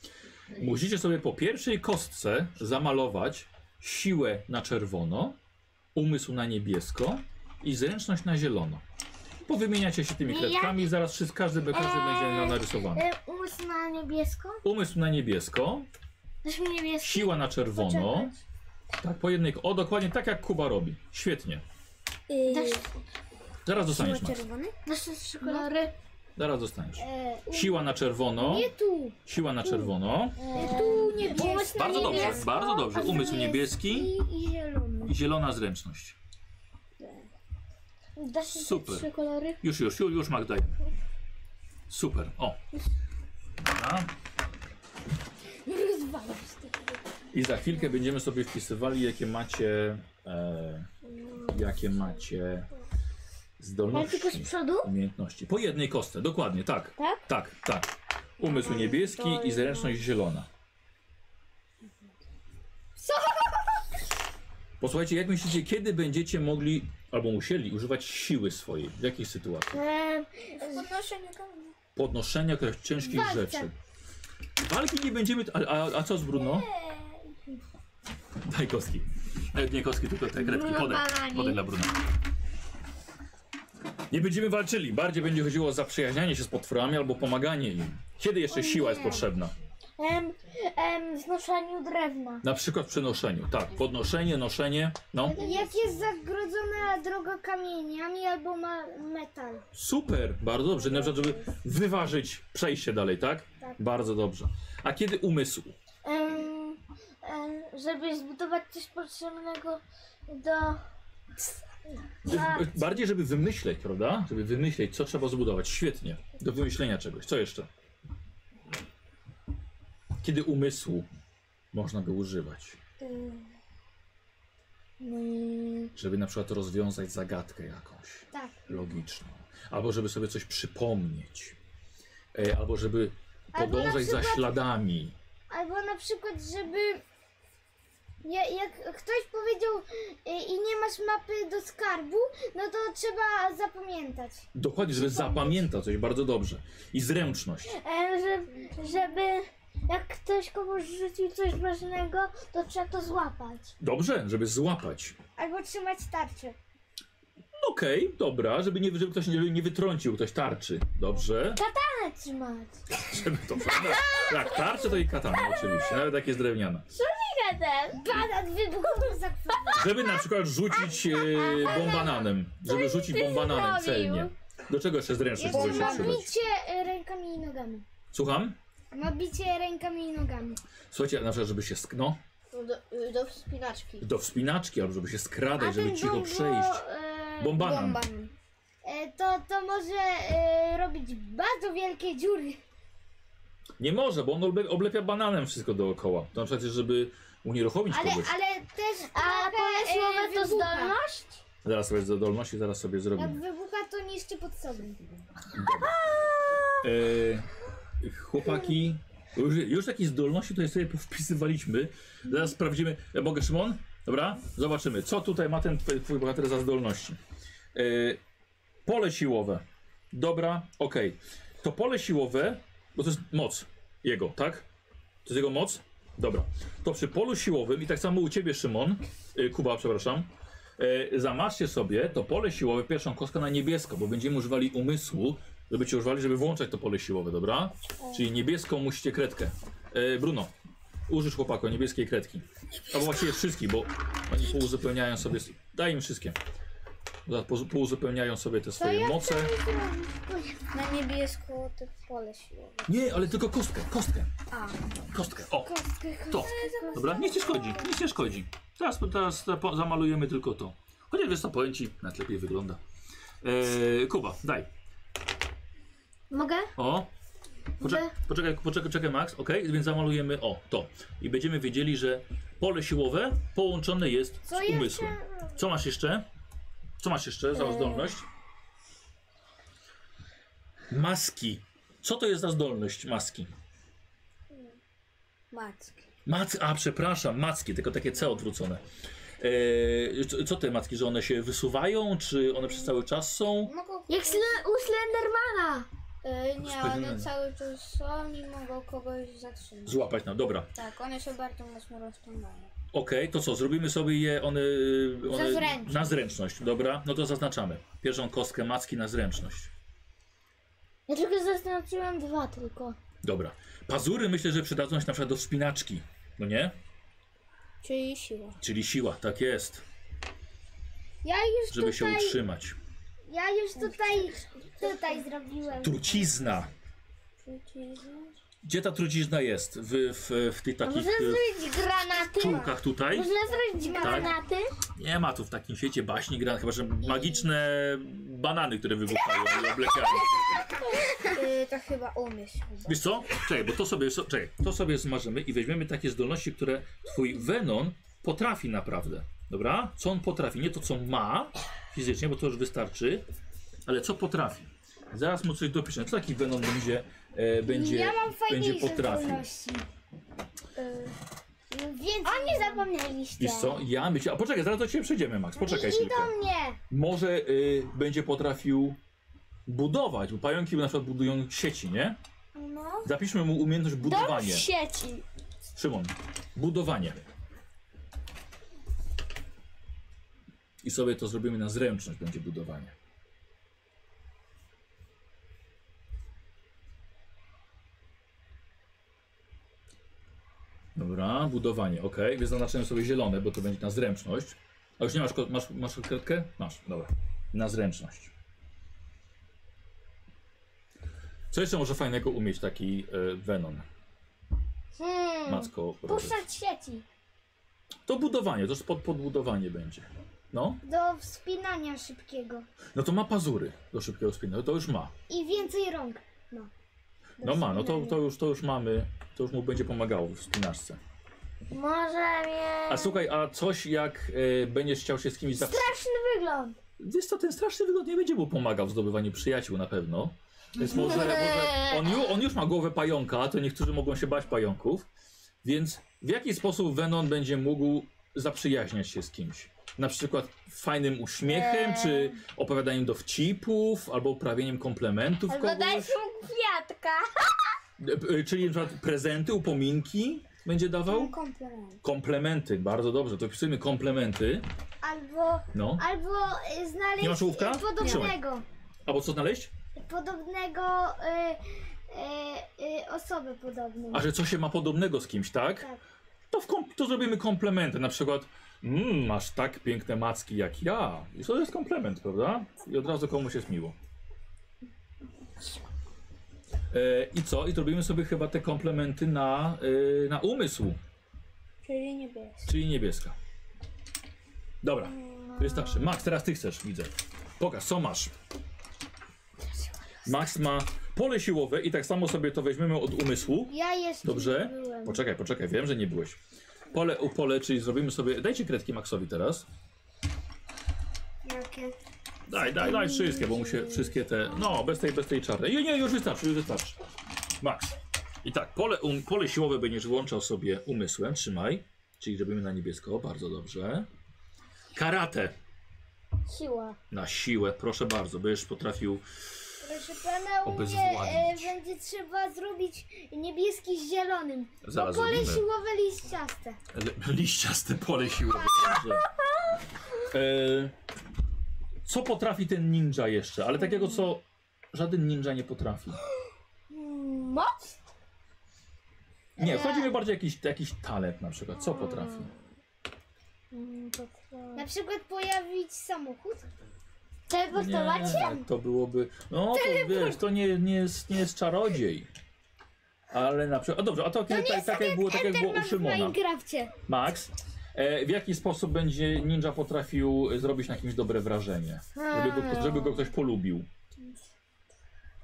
B: Musicie sobie po pierwszej kostce zamalować siłę na czerwono, umysł na niebiesko i zręczność na zielono. Powymieniacie się tymi
D: Ja-
B: kredkami, zaraz wszystko, każdy, każdy będzie miał
D: Eee,
B: narysowany.
D: Y, Umysł na niebiesko?
B: Umysł na niebiesko,
D: Też mi niebieski.
B: Siła na czerwono. Tak, po jednej. O, dokładnie tak jak Kuba robi. Świetnie.
A: Yy,
D: Dasz,
B: Zaraz dostaniesz, Max.
A: czerwony?
D: dasz te trzy kolory?
B: Zaraz dostaniesz.
C: E,
B: Siła na czerwono.
C: tu.
B: Siła na czerwono.
A: Tu niebieski
D: Umysł na
B: Bardzo dobrze,
D: niebiesko,
B: bardzo dobrze.
D: a tu
B: Umysł
D: jest-
B: niebieski
A: i zielony.
B: i zielona zręczność.
D: Dasz mi te
B: Super.
D: trzy kolory?
B: Już, już, już, już Magda. Super. O. Dobra. I za chwilkę będziemy sobie wpisywali, jakie macie. E, jakie macie No,
D: Ale tylko z
B: zdolności.
D: przodu?
B: Umiejętności. Po jednej kostce, dokładnie, tak. Tak? Tak, tak. Umysł niebieski i zręczność zielona. Posłuchajcie, jak myślicie, kiedy będziecie mogli albo musieli używać siły swojej? W jakiej sytuacji?
D: Eee,
A: Podnoszenie kamienia.
B: Podnoszenia jakichś ciężkich
D: Walce.
B: rzeczy. Walki nie będziemy. A, a, a co z Bruno? Daj kostki. E, Nie kostki, tylko te kredki.
D: Bruno
B: Podaj,
D: Banani.
B: podaj dla Bruna. Nie będziemy walczyli. Bardziej będzie chodziło o zaprzyjaźnianie się z potworami albo pomaganie im. Kiedy jeszcze
D: O
B: siła
D: nie.
B: jest potrzebna?
D: em, em, znoszeniu drewna.
B: Na przykład przy noszeniu. Tak, podnoszenie, noszenie. No,
D: Jak jest zagrodzona droga kamieniami albo ma metal.
B: super, bardzo dobrze. Na przykład, żeby wyważyć przejście dalej, tak?
D: Tak.
B: Bardzo dobrze. A kiedy umysł?
D: Em, em, żeby zbudować coś potrzebnego do... Tak.
B: Bardziej, żeby wymyśleć, prawda? Żeby wymyśleć, co trzeba zbudować. Świetnie. Do wymyślenia czegoś. Co jeszcze? Kiedy umysłu można go używać?
D: Mm,
B: Żeby na przykład rozwiązać zagadkę jakąś
D: Tak.
B: logiczną. Albo żeby sobie coś przypomnieć. E, Albo żeby
D: Albo na
B: podążać za
D: przykład-
B: śladami.
D: Albo na przykład, żeby... Ja, jak ktoś powiedział y, i nie masz mapy do skarbu, no to trzeba zapamiętać.
B: Dokładnie, żeby zapamiętał coś bardzo dobrze. I zręczność.
D: E, że, żeby jak ktoś komuś rzucił coś ważnego, to trzeba to złapać.
B: Dobrze, żeby złapać.
D: Albo trzymać tarczę.
B: Okej, dobra, żeby, nie, żeby ktoś nie, nie wytrącił ktoś tarczy. Dobrze.
D: Ale trzymać.
B: Żeby to prawda. Tak, tarczę to i katana oczywiście, nawet jak jest drewniana.
D: Gadam. Banan wybuchowy za
B: Żeby na przykład rzucić e, bombananem. Żeby rzucić bombananem
D: zrobił?
B: celnie. Do czego jeszcze zręczność może się
D: Jeszcze
B: przydać?
D: mabicie rękami i nogami.
B: Słucham?
D: Mabicie rękami i nogami.
B: Słuchajcie, na przykład żeby się skno
C: Do, y, do wspinaczki.
B: do wspinaczki, albo żeby się skradać, żeby cicho
D: bombo,
B: przejść.
D: e,
B: Bombanan.
A: Bomban.
D: e, to, to może e, robić bardzo wielkie dziury.
B: Nie może, bo on oble- oblepia bananem wszystko dookoła. To na przykład, żeby unieruchomić
A: Ale,
B: kogoś.
A: ale też
D: A
A: trochę,
D: pomysłowe
A: e,
D: to
A: wybucha.
D: zdolność?
B: Zaraz sobie zdolności, zaraz sobie
A: Jak
B: zrobimy.
A: wybucha, to niszczy pod sobą.
B: E, chłopaki, już, już jakieś zdolności tutaj sobie wpisywaliśmy. Zaraz sprawdzimy. Ja mogę, Szymon? Dobra? Zobaczymy, co tutaj ma ten tw- twój bohater za zdolności. E, pole siłowe. Dobra, okej. To pole siłowe, bo to jest moc jego, tak? To jest jego moc? Dobra. To przy polu siłowym i tak samo u ciebie, Szymon, e, Kuba, przepraszam, E, zamaszcie sobie to pole siłowe, pierwszą kostkę na niebiesko, bo będziemy używali umysłu, żeby cię używali, żeby włączać to pole siłowe, dobra? Czyli niebieską musicie kredkę. E, Bruno, użysz chłopaku niebieskiej kredki. Albo właściwie wszystkich, bo oni pouzupełniają sobie. Daj im wszystkie. za- po- Pouzupełniają sobie te swoje moce.
A: Na niebiesko to pole siłowe.
B: Nie, ale tylko kostkę, kostkę,
A: A,
B: kostkę. O, to. Dobra, nic nie szkodzi, nic nie szkodzi. Teraz, teraz zapo- zamalujemy tylko to. Chociaż wiesz co, powiem ci, nawet lepiej wygląda. Eee, Kuba, daj.
D: Mogę?
B: O. Poczekaj,
D: Mogę?
B: poczekaj, poczekaj, czekaj, Max, ok? Więc zamalujemy o to. I będziemy wiedzieli, że pole siłowe połączone jest
D: Co
B: z umysłem. Co masz jeszcze? Co masz jeszcze za
A: Eee.
B: zdolność? Maski. Co to jest za zdolność maski?
A: macki.
B: Mac, a przepraszam, macki, tylko takie C odwrócone. Eee, co- co te macki, że one się wysuwają, czy one przez cały czas są?
A: Mogą...
D: Jak sle- u Slendermana.
A: E, nie,
B: Spojrzenie.
A: one cały czas są i mogą kogoś zatrzymać.
B: Złapać nam, dobra.
A: Tak, one są bardzo mocno rozciągane.
B: Okej, to co, zrobimy sobie je one, one
A: zręczność.
B: na zręczność, dobra? No to zaznaczamy. Pierwszą kostkę macki na zręczność.
D: Ja tylko zaznaczyłam dwa tylko.
B: Dobra. Pazury myślę, że przydadzą się na przykład do wspinaczki, no nie?
A: Czyli siła.
B: Czyli siła, tak jest,
D: Ja już
B: żeby się
D: tutaj,
B: utrzymać.
D: ja już tutaj, tutaj zrobiłem.
B: Trucizna. Gdzie ta trucizna jest? W, w, w tych
D: A
B: takich
D: można
B: e,
D: zrobić granaty?
B: czułkach tutaj?
D: Można zrobić granaty?
B: Nie ma tu w takim świecie baśni gran, chyba że magiczne banany, które wybuchają i oblekają.
A: E, to chyba umysł.
B: Wiesz co? Czekaj, bo to sobie, so- czekaj, to sobie zmarzymy i weźmiemy takie zdolności, które twój Venon potrafi naprawdę. Dobra? Co on potrafi? Nie to, co ma fizycznie, bo to już wystarczy, ale co potrafi. Zaraz mu coś dopiszę. Co taki Venon będzie, e, będzie,
D: ja mam
B: będzie
D: fajniejsze
B: potrafił?
D: zdolności. Y, no Więc A nie zapomnieliście.
B: Wiesz co? Ja myślę... A poczekaj, zaraz do ciebie przejdziemy, Max. Poczekaj
D: I, i
B: chwilkę.
D: do mnie.
B: Może y, będzie potrafił budować, bo pająki na przykład budują sieci, nie?
D: No.
B: Zapiszmy mu umiejętność budowanie.
D: sieci.
B: Szymon, budowanie. I sobie to zrobimy na zręczność, będzie budowanie. Dobra, budowanie, ok. Więc zaznaczyłem sobie zielone, bo to będzie na zręczność. A już nie masz, ko- masz, masz kredkę? Masz, dobra. Na zręczność. Co jeszcze może fajnego umieć taki y, Venon?
D: Hmm.
B: Macko. Robert?
D: Puszczać sieci.
B: To budowanie, to już pod, podbudowanie będzie. No,
D: Do wspinania szybkiego.
B: no to ma pazury do szybkiego spinania, to już ma.
D: I więcej rąk. No.
B: No ma, no to, to, już, to już mamy, to już mu będzie pomagało w spinaczce.
D: Może mieć
B: A słuchaj, a coś jak e, będziesz chciał się z kimś zawsze...
D: straszny wygląd.
B: Wiesz co, ten straszny wygląd nie będzie mu pomagał w zdobywaniu przyjaciół na pewno. Więc może, może on, ju, on już ma głowę pająka, to niektórzy mogą się bać pająków. Więc w jaki sposób Venon będzie mógł zaprzyjaźniać się z kimś? Na przykład fajnym uśmiechem, czy opowiadaniem dowcipów, albo uprawieniem komplementów
D: Albo
B: kogoś.
D: dać mu kwiatka.
B: E, e, Czyli na przykład prezenty, upominki będzie
A: Mm.
B: dawał?
A: Komplement.
B: Komplementy, bardzo dobrze, to wpisujemy komplementy.
D: Albo,
B: No.
D: albo y, znaleźć
B: Nie masz ołówka?
D: y, podobnego.
B: Albo co znaleźć?
D: Podobnego y, y, y, osobę podobną.
B: A że co się ma podobnego z kimś, tak?
D: Tak.
B: To, w kom- to zrobimy komplementy. Na przykład, mmm, masz tak piękne macki jak ja. I to jest komplement, prawda? I od razu komuś jest miło. E, I co? I zrobimy sobie chyba te komplementy na, e, na umysł,
A: Czyli niebieski.
B: czyli niebieska. Dobra, wystarczy. Max, teraz ty chcesz, widzę. Pokaż, co masz. Max ma pole siłowe i tak samo sobie to weźmiemy od umysłu.
D: Ja jeszcze
B: Dobrze?
D: nie byłem.
B: Poczekaj, poczekaj, wiem, że nie byłeś. Pole u pole, czyli zrobimy sobie. Dajcie kredki Maxowi teraz.
A: Jakie?
B: Daj, daj, daj wszystkie, bo mu się wszystkie te. No, bez tej, bez tej czarnej. Nie, nie, już wystarczy, już wystarczy. Max. I tak, pole, um, pole siłowe będziesz włączał sobie umysłem, trzymaj. Czyli robimy na niebiesko, bardzo dobrze. Karate
D: Siła.
B: na siłę, proszę bardzo, byś potrafił.
D: Proszę pana, u mnie e,
B: Obezwładnić.
D: będzie trzeba zrobić niebieski z zielonym.
B: Zaraz
D: Bo No, pole
B: zrobimy.
D: siłowe liściaste.
B: L- liściaste pole siłowe. Dobrze. E, co potrafi ten ninja jeszcze? Ale takiego, co żaden ninja nie potrafi.
D: Moc?
B: Nie, chodzi mi bardziej o jakiś, jakiś talent na przykład. Co potrafi?
D: Na przykład pojawić samochód. Teleportować się?
B: Nie, tak, to byłoby. No to wiesz, to nie, nie, jest, nie jest czarodziej. Ale na przykład. A dobrze, a to, tak, tak, jak było, tak jak było u
D: W
B: Szymona.
D: Minecrafcie.
B: Max. E, w jaki sposób będzie ninja potrafił zrobić na kimś dobre wrażenie? Żeby go, żeby go ktoś polubił.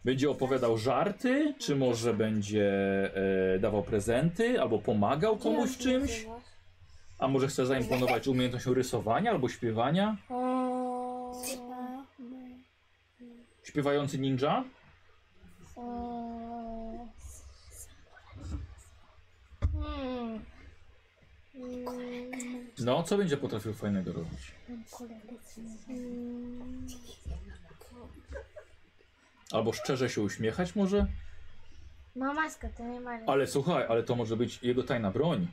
B: Będzie opowiadał żarty, czy może będzie e, dawał prezenty, albo pomagał komuś w czymś? A może chce zaimponować umiejętnością rysowania albo śpiewania? Śpiewający ninja?
C: Hmm.
D: Hmm.
B: No, co będzie potrafił fajnego robić? Albo szczerze się uśmiechać może?
D: Ma maskę, to nie ma.
B: Ale słuchaj, ale to może być jego tajna broń.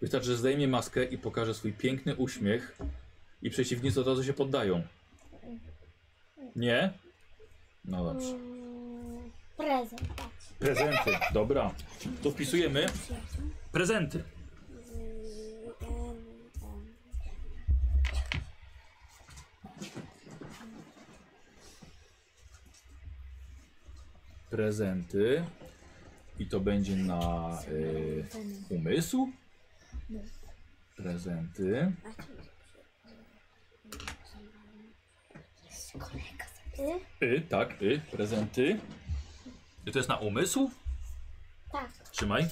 B: Wystarczy, że zdejmie maskę i pokaże swój piękny uśmiech i przeciwnicy od razu się poddają. Nie? No dobrze.
D: Mm, Prezent.
B: Prezenty, dobra. To wpisujemy. Prezenty. Prezenty. I to będzie na y, umysł. Prezenty. Y, tak, y, prezenty. I to jest na umysł?
D: Tak.
B: Trzymaj.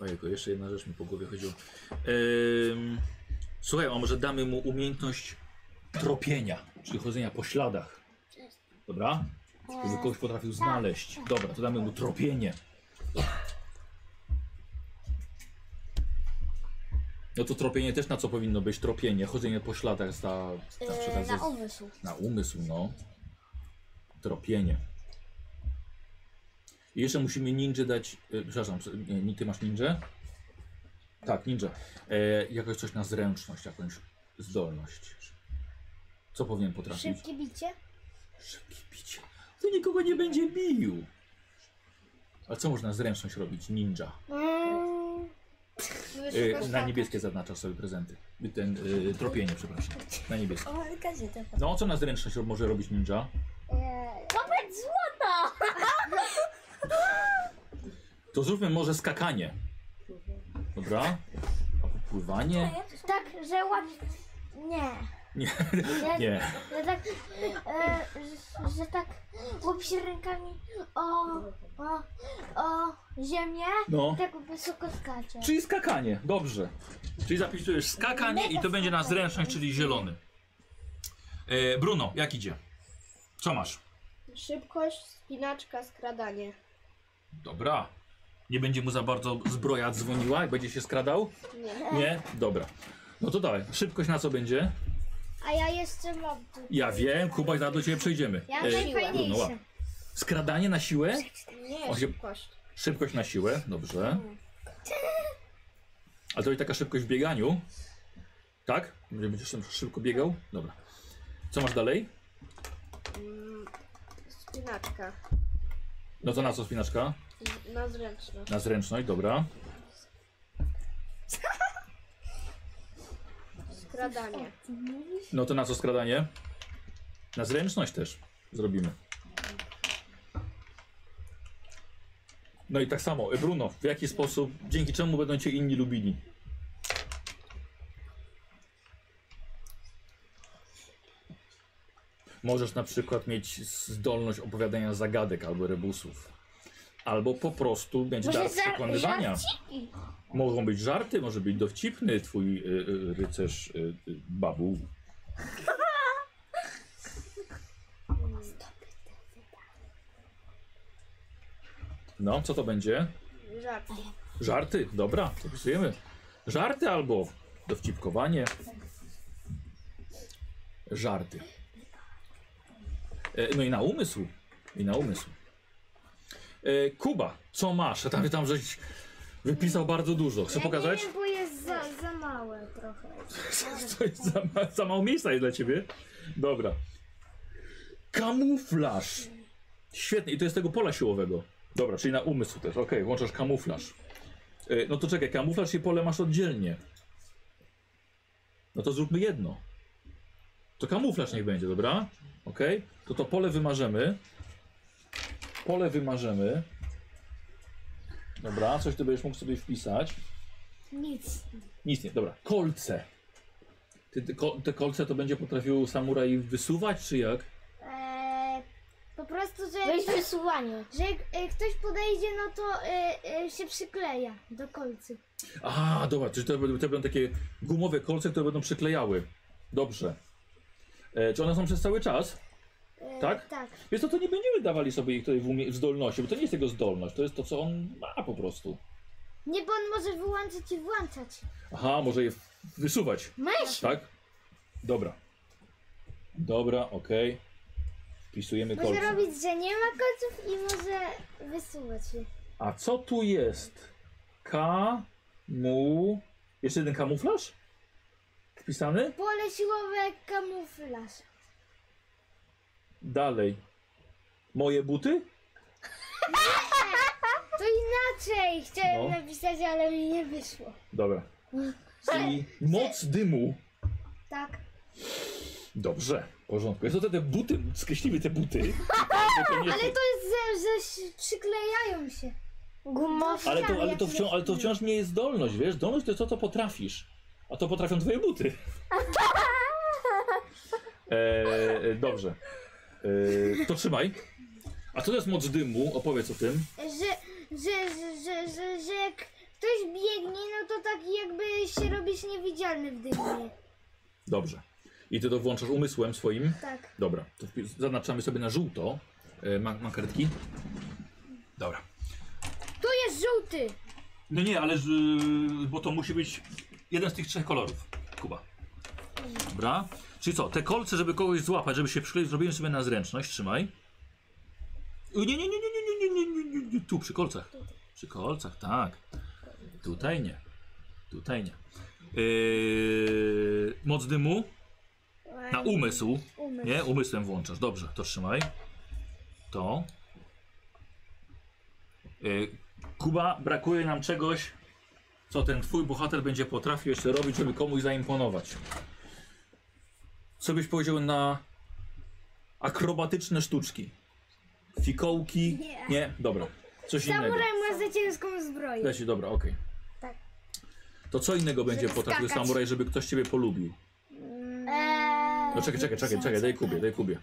B: Ojejku, jeszcze jedna rzecz mi po głowie chodziła. Ym, słuchaj, a może damy mu umiejętność tropienia, czyli chodzenia po śladach. Dobra? Żeby kogoś potrafił znaleźć. Dobra, to damy mu tropienie. No to tropienie też na co powinno być? Tropienie, chodzenie po śladach za, zawsze tak ze-
D: Na umysł.
B: na umysł, no. Tropienie. I jeszcze musimy ninja dać. Y, przepraszam, nie, nie, ty masz ninja? Tak, ninja. E, jakoś coś na zręczność, jakąś zdolność. Co powinien potrafić?
D: Szybkie bicie?
B: Szybkie bicie. To nikogo nie będzie bił. A co można zręczność robić? Ninja.
D: Hmm.
B: E, na niebieskie zaznaczasz sobie prezenty. Ten, y, tropienie, przepraszam. Na niebieskie.
D: O, gazetę.
B: No, co na zręczność ro- może robić ninja?
D: Kopać złota!
B: To zróbmy może skakanie. Dobra? Albo pływanie?
D: Tak, że łap... Nie.
B: Nie.
D: Ja,
B: Nie.
D: Że tak, e, że, że tak łap się rękami o, o, o ziemię,
B: No.
D: tak wysoko skacze.
B: Czyli skakanie, dobrze. Czyli zapisujesz skakanie i to będzie na zręczność, czyli zielony. E, Bruno, jak idzie? Co masz?
C: Szybkość, spinaczka, skradanie.
B: Dobra. Nie będzie mu za bardzo zbroja dzwoniła, jak będzie się skradał?
C: Nie.
B: Nie? Dobra. No to dawaj, szybkość na co będzie?
D: A ja jeszcze mam tu.
B: Ja wiem, Kuba, zaraz do ciebie przejdziemy.
D: Ja
B: E, Bruno, łap.
D: najfajniejsze.
B: Skradanie na siłę?
C: Nie,
B: Osiem-
C: szybkość.
B: Szybkość na siłę, dobrze. A to i taka szybkość w bieganiu. Tak? Będzie- Będziesz tam szybko biegał? Dobra. Co masz dalej?
C: Mm, Spinaczka.
B: No to na co spinaczka?
C: Na zręczność.
B: Na zręczność, dobra.
C: Skradanie.
B: No to na co skradanie? Na zręczność też zrobimy. No i tak samo, e, Bruno, w jaki sposób, dzięki czemu będą cię inni lubili? Możesz na przykład mieć zdolność opowiadania zagadek albo rebusów. Albo po prostu będzie
D: Może
B: dar
D: za-
B: przekonywania. Mogą być żarty, może być dowcipny twój y, y, rycerz y, y, babu. No, co to będzie?
C: Żart.
B: Żarty, dobra, to pisujemy. Żarty albo dowcipkowanie. Żarty. E, No i na umysł. I na umysł. E, Kuba, co masz? Tam, tam żeś wypisał bardzo dużo. Chcę pokazać?
D: Nie, bo jest za, za małe trochę.
B: To jest za, ma, za mało miejsca jest dla ciebie. Dobra. Kamuflaż. Świetnie, i to jest tego pola siłowego. Dobra, czyli na umysł też. Okej, włączasz kamuflaż. E, No to czekaj, kamuflaż i pole masz oddzielnie. No to zróbmy jedno. To kamuflaż niech będzie, dobra? Okej? To to pole wymarzemy. Pole wymarzemy. Dobra, coś ty będziesz mógł sobie wpisać.
A: Nic.
B: Nic nie, dobra. Kolce. Ty, ty, ko, te kolce to będzie potrafił samuraj wysuwać, czy jak?
D: Eee, po prostu, że,
C: Weź wysuwanie.
D: że jak e, ktoś podejdzie, no to e, e, się przykleja do kolcy.
B: A, dobra, czyli to, będą- to będą takie gumowe kolce, które będą przyklejały. Dobrze. E, czy one są przez cały czas?
D: E,
B: Tak?
D: Tak.
B: Wiesz co, to nie będziemy dawali sobie ich tutaj w, umie- w zdolności, bo to nie jest jego zdolność, to jest to, co on ma po prostu.
D: Nie, bo on może wyłączyć i włączać.
B: Aha, może je wysuwać,
D: Myśl!
B: tak? Dobra. Dobra, okej. Wpisujemy
D: Może
B: kolce.
D: robić, że nie ma kolców i może wysuwać je.
B: A co tu jest? Kamu... Jeszcze jeden kamuflaż? Wpisany?
D: Pole siłowe, kamuflaż.
B: Dalej. Moje buty?
D: To inaczej chciałem
B: No.
D: napisać, ale mi nie wyszło.
B: Dobra. I moc dymu.
D: Tak.
B: Dobrze, w porządku. Jest to te, te buty, skreśliły te buty. Bo nie-
D: Ale to jest, że, że się przyklejają się.
C: Gumowe.
B: Ale to,
D: Chciałam,
B: ale, to
D: jak
B: wciąż, ale to wciąż nie jest zdolność, wiesz? Zdolność to jest to, co potrafisz. A to potrafią twoje buty. E, e, dobrze. E, to trzymaj. A co to jest moc dymu? Opowiedz o tym.
D: Że, że, że, że, że, że jak ktoś biegnie, no to tak jakby się robisz niewidzialny w dymie.
B: Dobrze. I ty to włączasz umysłem swoim.
D: Tak.
B: Dobra, to wpi- zaznaczamy sobie na żółto. E, ma, ma kartki? Dobra.
D: Tu jest żółty.
B: No nie, ale z- bo to musi być jeden z tych trzech kolorów, Kuba. Dobra. Czyli co, te kolce, żeby kogoś złapać, żeby się przykleić, zrobiłem sobie na zręczność, trzymaj. U, Nie, nie, nie, nie, nie, nie, nie, nie, nie, nie, nie, tu przy kolcach. Przy kolcach, tak. Tutaj nie. Tutaj nie. Yy, moc dymu na umysł.
D: Umysł.
B: Nie, umysłem włączasz. Dobrze, to trzymaj. To. Y, Kuba, brakuje nam czegoś, co ten twój bohater będzie potrafił jeszcze robić, żeby komuś zaimponować. Co byś powiedział na akrobatyczne sztuczki? Fikołki?
D: Nie.
B: Nie? Dobra. Coś innego.
D: Samuraj ma za ciężką zbroję.
B: Leci, dobra, okej.
D: Tak.
B: To co innego będzie
D: Żeby
B: potrafił
D: skakać.
B: samuraj, żeby ktoś ciebie polubił?
D: Eee,
B: No czekaj, czekaj, czekaj, czekaj, daj Kubie, daj Kubie.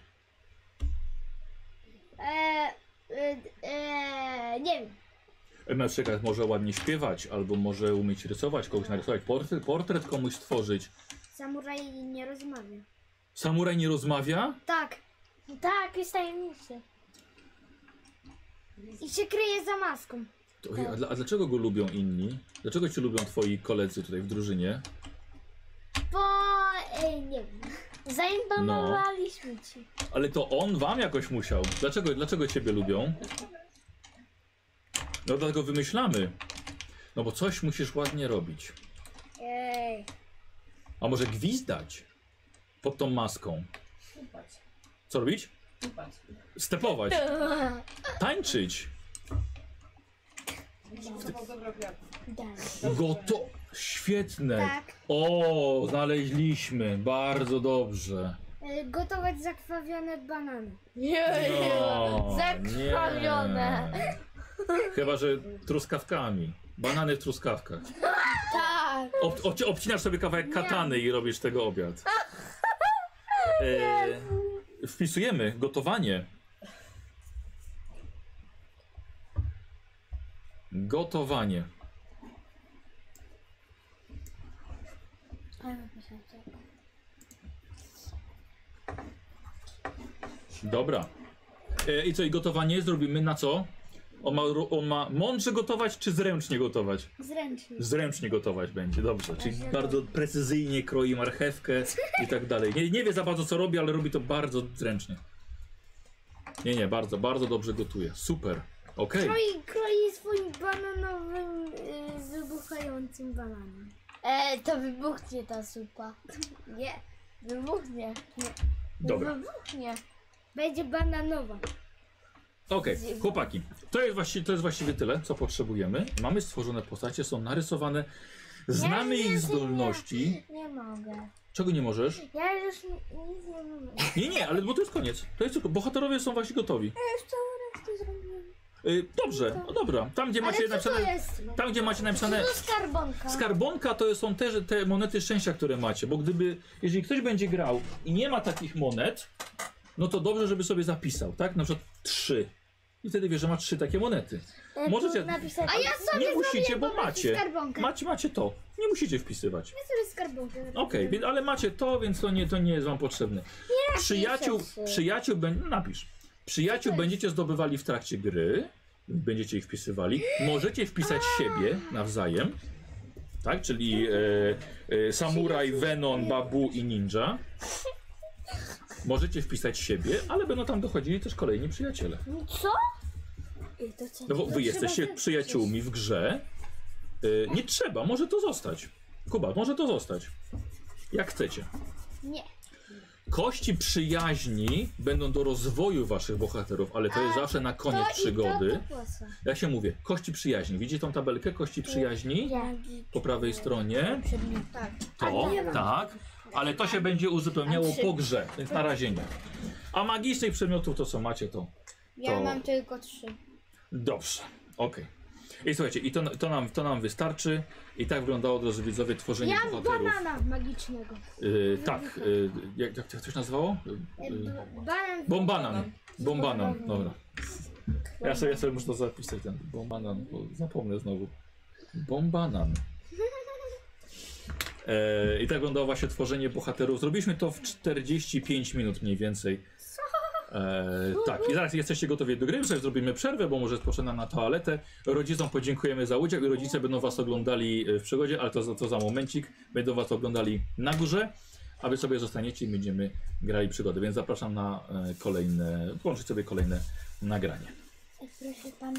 D: eee, eee, nie wiem.
B: Na przykład może ładnie śpiewać, albo może umieć rysować, kogoś narysować, portret, portret komuś stworzyć.
D: Samuraj nie rozmawia.
B: Samuraj nie rozmawia?
D: Tak.
C: Tak, jest tajemnicy.
D: I się kryje za maską.
B: To, a, dla, a dlaczego go lubią inni? Dlaczego cię lubią twoi koledzy tutaj w drużynie?
D: Bo e, nie wiem.
C: Zaimponowaliśmy
B: No.
C: ci.
B: Ale to on wam jakoś musiał. Dlaczego, dlaczego ciebie lubią? No dlatego wymyślamy. No bo coś musisz ładnie robić.
D: Ej.
B: A może gwizdać pod tą maską? Co robić? Stepować. Tańczyć. Goto. No Świetne.
D: Tak.
B: O, znaleźliśmy. Bardzo dobrze.
D: E, Gotować zakrwawione banany.
C: Nie,
B: O,
C: zakrwawione.
B: No, nie. Chyba, że truskawkami. Banany w truskawkach.
C: Tak.
B: Ob, obci- obcinasz sobie kawałek katany i robisz tego obiad. E, wpisujemy gotowanie. Gotowanie. Dobra. E, I co, i gotowanie zrobimy na co? On ma, ru- on ma mądrze gotować czy zręcznie gotować?
D: Zręcznie.
B: Zręcznie gotować będzie, dobrze. Czyli bardzo precyzyjnie kroi marchewkę i tak dalej. Nie, nie wie za bardzo co robi, ale robi to bardzo zręcznie. Nie, nie, bardzo, bardzo dobrze gotuje. Super. Okej.
D: Kroi, kroi No swoim bananowym, e, wybuchającym bananem.
C: E, to wybuchnie ta supa.
D: Nie.
C: Wybuchnie.
B: Dobra.
C: Wybuchnie.
D: Będzie bananowa.
B: Okej, chłopaki, to jest, właściwie, to jest właściwie tyle, co potrzebujemy. Mamy stworzone postacie, są narysowane, znamy
D: Ja nie
B: ich
D: wiem.
B: zdolności.
D: Nie mogę.
B: Czego nie możesz?
D: Ja już n- nic nie mogę.
B: Nie, nie, ale bo to jest koniec. To jest tylko, bohaterowie są właśnie gotowi.
D: Co zrobiłem?
B: Y, dobrze, no dobra. Tam gdzie macie
D: Ale co to
B: napisane,
D: jest?
B: tam gdzie macie napisane
D: To skarbonka.
B: Skarbonka to są też te monety szczęścia, które macie, bo gdyby, jeżeli ktoś będzie grał i nie ma takich monet, no to dobrze, żeby sobie zapisał, tak? Na przykład trzy. I wtedy wie, że ma trzy takie monety.
D: No,
B: Możecie-
D: E, Napisać. A ja sobie
B: Nie musicie, bo macie.
D: skarbonkę.
B: Macie, macie to. Nie musicie wpisywać.
D: Ja sobie skarbonkę.
B: Okej, więc- ale macie to, więc to nie, to nie jest wam potrzebne. Przyjaciół,
D: napiszę.
B: przyjaciół, bę- no napisz. Przyjaciół będziecie zdobywali w trakcie gry, będziecie ich wpisywali. Możecie wpisać siebie nawzajem, tak? Czyli e, e, samuraj, venon, babu i ninja. Możecie wpisać siebie, ale będą tam dochodzili też kolejni przyjaciele.
D: Co?
B: No bo wy jesteście przyjaciółmi w grze. Y, nie trzeba, może to zostać. Kuba, może to zostać. Jak chcecie.
D: Nie.
B: Kości przyjaźni będą do rozwoju waszych bohaterów, ale to jest zawsze na koniec przygody. Jak się mówię, kości przyjaźni. Widzicie tą tabelkę kości przyjaźni po prawej stronie?
C: Tak.
B: To,
C: nie ma.
B: tak. Ale to się będzie uzupełniało po grze, więc na razie nie. A magicznych przedmiotów to co macie, to
A: Ja
B: To-
A: mam tylko trzy.
B: Dobrze, okej. I słuchajcie, i to, to, nam, to nam wystarczy. I tak wyglądało, drodzy widzowie, tworzenie
D: Ja mam
B: bohaterów.
D: banana magicznego.
B: Y, tak, y, jak, jak to się nazywało? Y, y,
D: Banan.
B: bombanan. Bombanan, dobra. Ja sobie, ja sobie muszę to zapisać, ten bombanan, bo zapomnę znowu. Bombanan. E, I tak wyglądało właśnie tworzenie bohaterów. Zrobiliśmy to w 45 minut mniej więcej. E, tak, i zaraz jesteście gotowi do gry, sobie zrobimy przerwę, bo może rozpoczyna na toaletę. Rodzicom podziękujemy za udział i rodzice będą was oglądali e, w przygodzie, ale to, za- to za momencik. Będą was oglądali na górze, a wy sobie zostaniecie i będziemy grali przygody. Więc zapraszam na e, kolejne, włączyć sobie kolejne nagranie.
D: Tak, Proszę pana.